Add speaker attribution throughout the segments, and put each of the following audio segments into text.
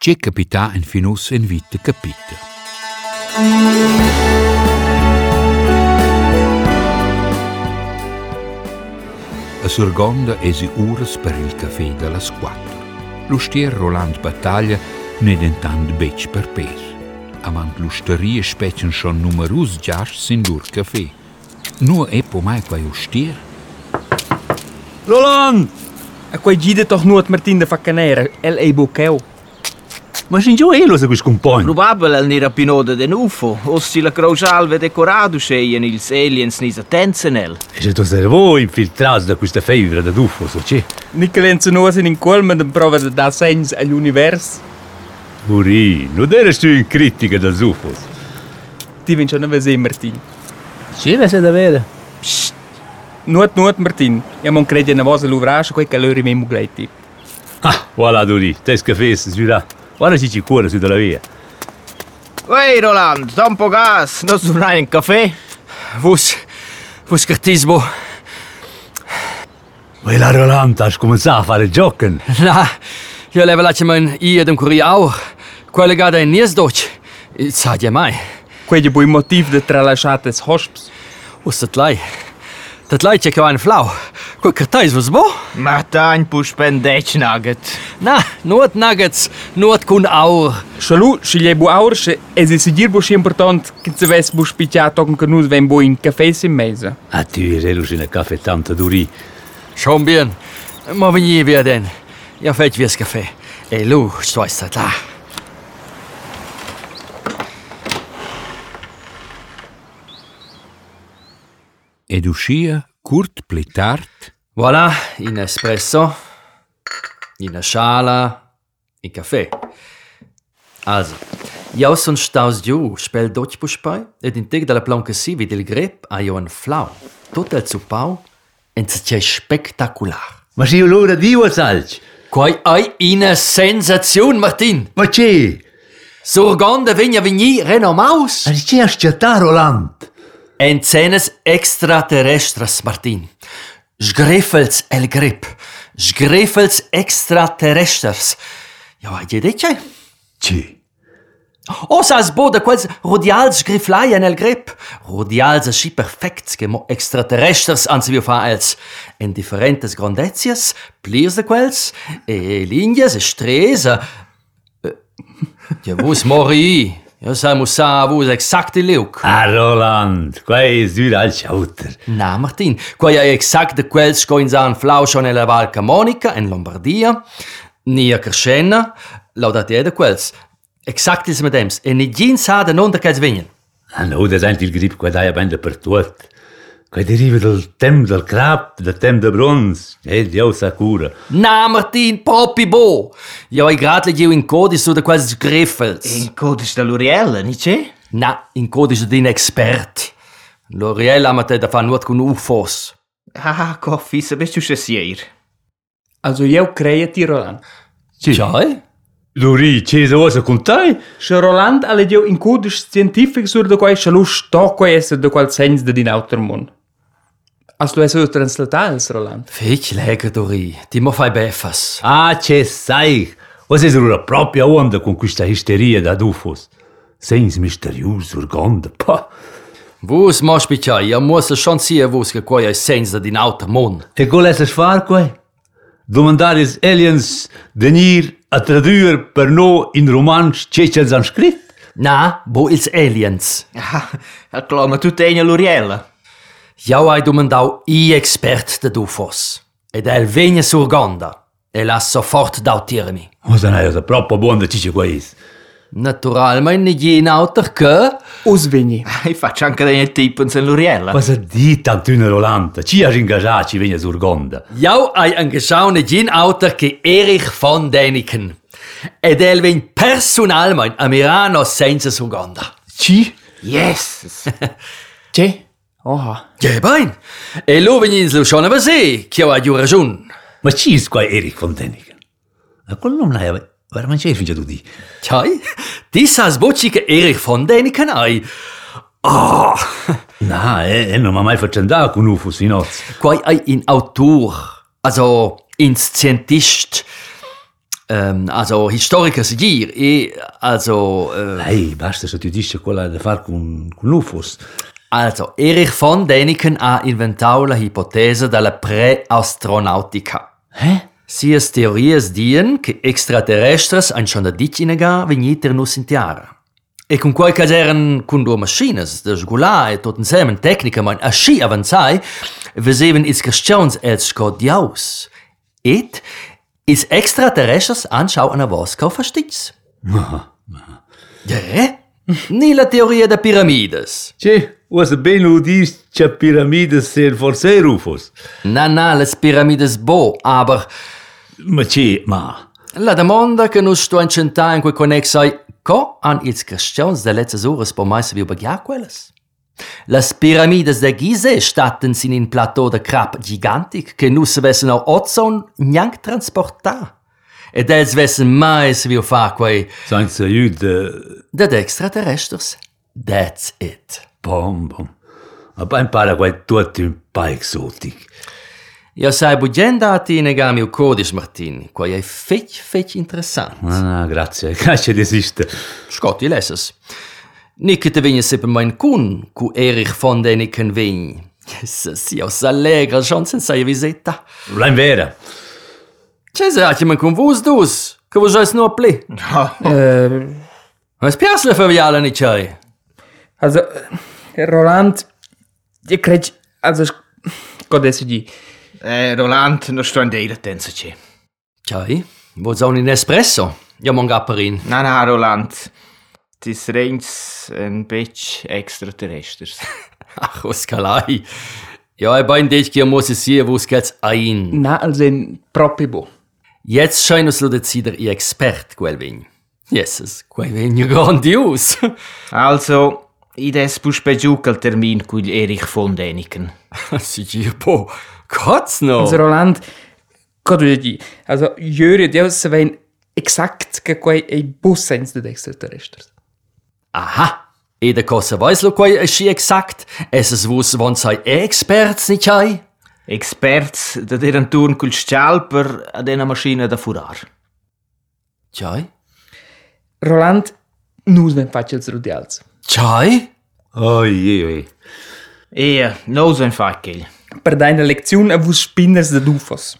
Speaker 1: ce căpita în finus în vită căpită. A Surgonda esi urs per il caffè dalla squattro. L'ustier Roland Battaglia ne dentant bec per pes. Avant l'usterie specen schon numerus giasch sin dur caffè. Nu e pomai quai ustier?
Speaker 2: Roland! A quei gide toch nuot Martin de Faccanera, el ei bocheu.
Speaker 3: Ma sin giù elo se quis compagno.
Speaker 4: Probabile il nera pinoda de nufo, ossi la crocialve decorato sceien ils aliens nis attenzenel.
Speaker 3: E se tu sei voi infiltrato da questa febbre da tuffo, so c'è.
Speaker 2: Nicolenzo nuos in incolmen den prova de da sens all'univers.
Speaker 3: Uri, non eri tu in critica da tuffo.
Speaker 2: Ti vince una vese Martin.
Speaker 5: Sì, ma sei davvero.
Speaker 2: Nuot nuot Martin, e mon credi una vosa l'uvrasch quei calori mei mugletti.
Speaker 3: Ah, voilà, Uri, te scafesse, giurà. Guarda ci ci cuore su della via.
Speaker 4: Ehi Roland, da un po' gas, non suonai un caffè?
Speaker 2: Vus, vus cartismo.
Speaker 3: Ma la Rolanda ha cominciato a fare giochi.
Speaker 6: Na, io levo la cemen i ad un curiau, quella gada in nies doc. Sa je mai.
Speaker 2: Quelli bui motiv de tralasciate hosps.
Speaker 6: Ustat lai. Dat lai che kwan flau. Quel cartais vos bo?
Speaker 4: Ma tagn pu spendec nugget.
Speaker 6: Na, nuot nuggets, nuot kun aur.
Speaker 2: Schalu, sceglie bu aurse, e se si dir bu schi important che se ves bu spicciato con canus ven bu in caffè in mese.
Speaker 3: Ah, tu eri in una caffè tanto duri.
Speaker 6: Schon um bien. Ma veni via den. Ja fetch wies caffè. E lu, stoi stat la.
Speaker 1: Ed uscia curt plitart
Speaker 6: Voilà, in espresso, in schala, in caffè. Also, io sono staus giù, spel dodge puspai, ed in teg dalla planca sivi del grep a io un flau, tutto il suppau, e c'è spettacolar.
Speaker 3: Ma sei un'ora di salci.
Speaker 6: Quai hai una sensazione, Martin!
Speaker 3: Ma c'è,
Speaker 6: Surgonda vigna vigni renomaus!
Speaker 3: ma c'è a sciattare Roland.
Speaker 6: En cenes extraterrestras, Martin. Sgreffels el grip. Sgreffels extraterrestras. Ja, je Oh, detje?
Speaker 3: C'è.
Speaker 6: Os as boda quels rodials grifflaien el grip. Rodials aschi perfect, che mo extraterrestras ans vi fa els. En differentes grandezzias, pliers de quels, e linjes, Eh, e stresa. Ja, vus mori. Ja, samu sa vus exacte leuk.
Speaker 3: Ah, Roland, qua è dura al sciauter.
Speaker 6: Na, Martin, quei è exact de quels coins an flauschon nella Val Camonica in Lombardia, nia Crescenna, laudate de quels. Exact is medems, e ni gin sa de non de quels vingen.
Speaker 3: Ah, no, da senti il grip qua dai a ben dappertutto. Qua deriva dal tempo del crap, dal tempo del bronzo. E Dio sa cura.
Speaker 6: Na, Martin, propi bo! Jo, i grad legio in codis su de quels griffels.
Speaker 4: In codis da l'Uriella, ni c'è?
Speaker 6: Na, in codis din expert. L'Oriel amate da fa nuot cun ufos.
Speaker 4: Ah, coffi, se bist du schassier.
Speaker 2: Also io creia ti Roland.
Speaker 6: Ciao?
Speaker 3: Luri, c'è da cosa con te?
Speaker 2: Se Roland alle dio in codis scientific sur de quai schalu sto quai esse de qual sens de din outer mund. As tu esse translatals Roland.
Speaker 6: Fich leger dori, ti mo fai befas.
Speaker 3: Ah, c'è, sai. Cosa è una e propria onda con questa isteria da dufos? Sens misterioso, urgando, pa.
Speaker 6: Vus mach bitte, ja muss es schon sehen, vus ge quai ei sens da din auter mond.
Speaker 3: E cosa lascias fare qua? Domandare is aliens venir a tradurre per noi in romanzo c'è c'è zan scritto?
Speaker 6: Na, bo ils aliens.
Speaker 4: Ah, al cloma tu tegna l'Uriella.
Speaker 6: Ja ei domandau i expert de dufos. Ed el venia surgonda. E la sofort dautirmi.
Speaker 3: Cosa ne è da troppo buona c'è qua is?
Speaker 6: Naturalmein ni gin auter che...
Speaker 2: Us vegni.
Speaker 4: E faccio anche dei tippens in l'Uriella.
Speaker 3: Cosa di tantuna Rolanda? Ci ha ringasciato, ci viene surgonda.
Speaker 6: Jou ei engagiau ne gin auter che Erich von Däniken. Ed el ven personalmein a Mirano senza surgonda.
Speaker 2: Ci?
Speaker 4: Yes!
Speaker 2: Ci? Oha.
Speaker 6: Ja, bein. E lo veni ins Luciana Vasé, che ha giù ragione.
Speaker 3: Ma c'è is qua Eric von Däniken? A quel nome ne è? Veramente c'è finito di.
Speaker 6: Tjai, ti sas bocci che Erich von Däniken hai. Ah,
Speaker 3: No, e, e non mi ha mai fatto andare con Ufos in nozze.
Speaker 6: quai hai in autor, also in scientist. ehm, also Historiker seguir e also eh,
Speaker 3: Ehi, basta se ti dice quella da fare con, con UFOs.
Speaker 6: Also, Erich von Däniken ha inventato la ipotesi della pre-astronautica.
Speaker 5: Hä?
Speaker 6: Sia teories dien che extraterrestres ein schon da dit in ga vegniter nus in tiara. E con quel caseren con due machines, da sgulà e tot insieme tecnica man a sci avanzai, veseven is christians els sco diaus. Et is extraterrestres anschau an a vosco verstits. Ja, eh? Ni la teoria da piramides.
Speaker 3: Sì, usa bene udis, c'è piramide se forse è UFOs.
Speaker 6: Na, na, las piramides bo, aber
Speaker 3: Ma c'è, ma...
Speaker 6: la domanda che non sto incentando in quel connesso è co han ils cristians de letztes ures po mais vi ubegia quelles? Las piramides de Gizeh statten sin in plateau de crap gigantic che nus vessen au ozon nianc transportar. Ed els vessen mais vi fa quei
Speaker 3: Senza aiuto...
Speaker 6: dad extraterrestres. That's it.
Speaker 3: Bom, bom. Ma poi impara quel tutto un po' esotico.
Speaker 6: Io sai bugenda a ti negami il codice, Martin, quei è fech fech interessant.
Speaker 3: Ah, no, grazie, grazie di esistere.
Speaker 6: Scott, ihr lest es. Nicke te vinje seppe mein kun, ku Erich von deniken vinj. Jesus, io s'allegra, schon sen saie visita.
Speaker 3: La in vera.
Speaker 6: C'è zaci men kun vus dus, che vus es nur pli.
Speaker 2: Äh,
Speaker 6: Es pias le faviala ni c'hai.
Speaker 2: also, äh, Roland, ich krieg, also, ich gott esse die.
Speaker 4: Eh, Roland, non sto in dei tenso c'è.
Speaker 6: C'hai? Vus un in espresso? Io mong apperin.
Speaker 4: Na, na, Roland. Tis regns ein bitch extraterresters.
Speaker 6: Ach, was kalai. Ja, ich bin dich, ich muss es hier, wo es geht's ein.
Speaker 2: Na, also, in proprio bo.
Speaker 6: Jetzt scheint es lo decider ihr Expert, quel vinj. Jesus, quel vinj ja grandios.
Speaker 4: Also, ides puspe giù al termin cui Erich von Däniken.
Speaker 6: Sie hier, bo, Gott no.
Speaker 2: Also, Roland, gott esse die. Also, jöre, die se vein exakt che quei ei bus sens de extraterrestri.
Speaker 6: Aha! Ede Kosse weiß lo quai eschi exakt. Es es wus wann sei experts nicht hei.
Speaker 4: Experts da deren turn cul scalper ad una maschina da furar.
Speaker 6: Chai?
Speaker 2: Roland, pač nus ven facels rudials.
Speaker 6: Chai?
Speaker 3: Oh, je, je.
Speaker 4: Ea, no so ein fackel.
Speaker 2: Per deine Lektion a vus spinners de dufos.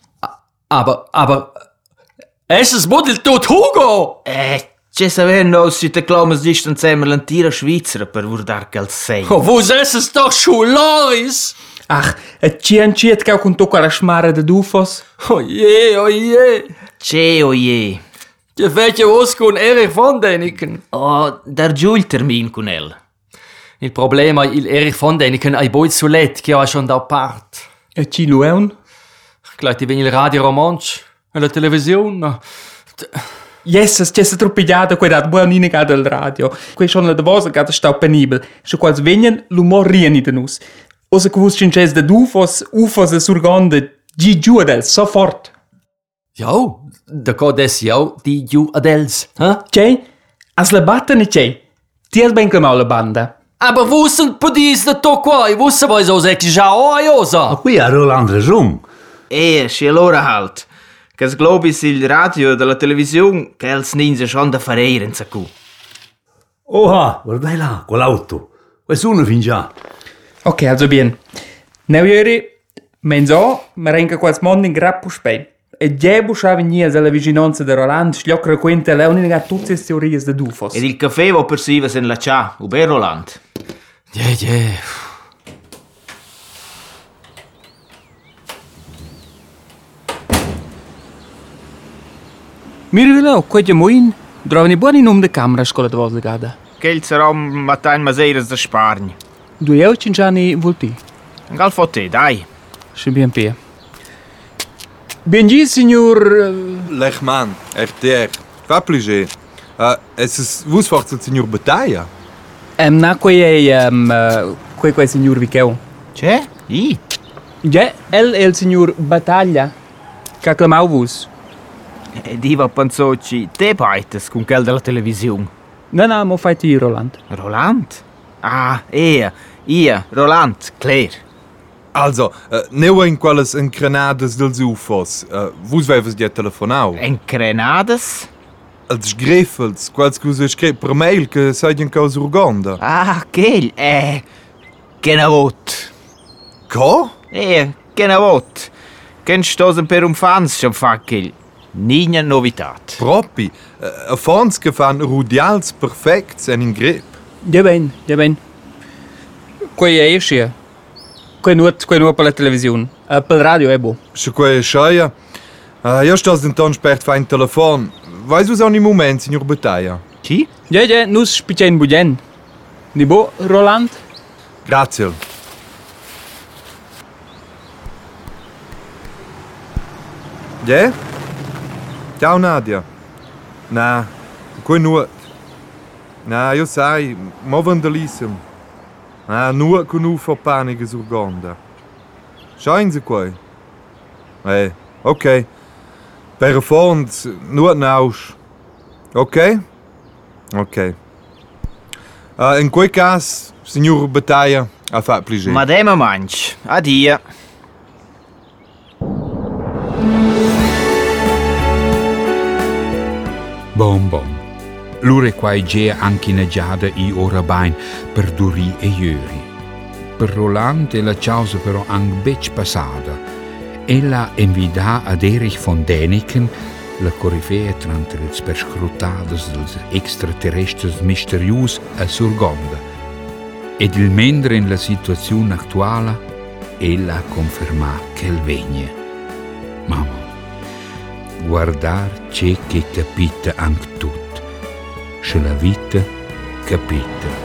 Speaker 6: Aber, aber... Es es model tot Hugo!
Speaker 4: Eh, c'è saver no si te clamas distan zemmer l'antira Schweizer per vurdar cal sei.
Speaker 6: Oh, wus es es doch schularis!
Speaker 2: Ach, et cian ciet cau cun tocca la schmara de dufos.
Speaker 6: Oh je, oh je!
Speaker 4: C'è o je.
Speaker 6: Je fetje wus kun Erich von Däniken.
Speaker 4: Oh, dar giù il termin con el.
Speaker 6: Il problema il Erich von Däniken ai boi zu let, che ha schon da part.
Speaker 2: Et ci lueun?
Speaker 6: Gleich die wenn il Radio Romansch, la Television.
Speaker 2: Yes, es c'è troppigliato quei dat buon in gada al radio. Quei schon la davosa gada stau penibel. Scho quals venien l'umor rieni de nus. Osa quus cinces de dufos, ufos e surgonde, gi giudel, so fort.
Speaker 6: Jo, da geht es jo, die ju adels, hä?
Speaker 2: C'è? As la batta ne c'è. Ti has ben clamau la banda.
Speaker 6: Aber wo sind Podis de Tokoi? Wo sind wir so sechs Jahre
Speaker 3: Ma
Speaker 6: oder?
Speaker 3: qui ha Roland ragione.
Speaker 4: Ea, c'è l'ora halt. Cas globis il radio della televisione che els ninze schon da fareiren sa cu.
Speaker 3: Oh, ah, guardai là, quell'auto. Qualcuno fin già.
Speaker 2: Ok, also bien. Neu ieri, menzo, ma renca quals mondo in grappu spein. E gebu sa venia dalla vicinanza de Roland, schliocra quente leonin a tutte le teorie de dufos.
Speaker 4: Ed il caffè va persiva sen la cia, u ben Roland.
Speaker 6: Je, je.
Speaker 2: Mirvila, o quei gemoin, drovani buoni num de camera a scola de vos de gada.
Speaker 4: Che il sarom matain maseiras da Spargna.
Speaker 2: Du eu cinciani volti.
Speaker 4: Gal fotte, dai.
Speaker 2: Se bien pia. Benji, signor...
Speaker 7: Lechman, RTR, va pliger. Uh, es ist Wusfach zu Senior Bataille.
Speaker 2: Um, na, quei è... Um, quei quei signor Vicheu.
Speaker 4: C'è? I.
Speaker 2: Ja, el è il signor Battaglia. Che clamau vos.
Speaker 4: Ed iva panzoci, te baites con quel della televisione.
Speaker 2: Na, na, mo fai ti, Roland.
Speaker 4: Roland? Ah, ea, ia, Roland, Claire.
Speaker 7: Also, äh, neu in quelles encrenadas dels UFOs. Äh, vos vevas dia telefonau.
Speaker 4: Encrenadas?
Speaker 7: Als grefels, quels que vos escreve per mail que saian caus Urganda.
Speaker 4: Ah, aquele. É. Genavot.
Speaker 7: Co?
Speaker 4: É, Genavot. Quem stoßen per um Fans schon fackel. Ninha novidade.
Speaker 7: Propi. Äh, a fons que fan rudials perfects en ingrep.
Speaker 2: Ja bene, ja bene. Quei è esce. Quei nur, quei nur per la televisione. Uh, per la radio è buono.
Speaker 7: Se quei scheia. Äh, ja stas den Ton spert fein telefon. Weis vos an im moment, signor Bataia.
Speaker 6: Chi?
Speaker 2: Ja, ja, nus spicen bugen. Ni bo, Roland?
Speaker 7: Grazie. Ja? Ciao Nadia. Na, quei nuot. Na, io sai, mo vandalissim. Na, nuot con ufo panigas Urganda. Schein se quei. Eh, ok. Per fond, nuot nausch. Ok? Ok. Uh, in quel cas, signor Bataia, a fa pligé.
Speaker 4: Madema manch. Adia.
Speaker 1: Bom bom. Lure quai gea anche in giada i ora bain per duri e ieri. Per Roland è la causa però anche bec passata. Ella invita ad Erich von Däniken, la corifea tranter els perscrutades dels extraterrestres misterius a Surgonda. Ed il mendre in la situazione attuale, ella conferma che il vegne. Mamma, guardar c'è che capita anche tutto. Se la vita capita.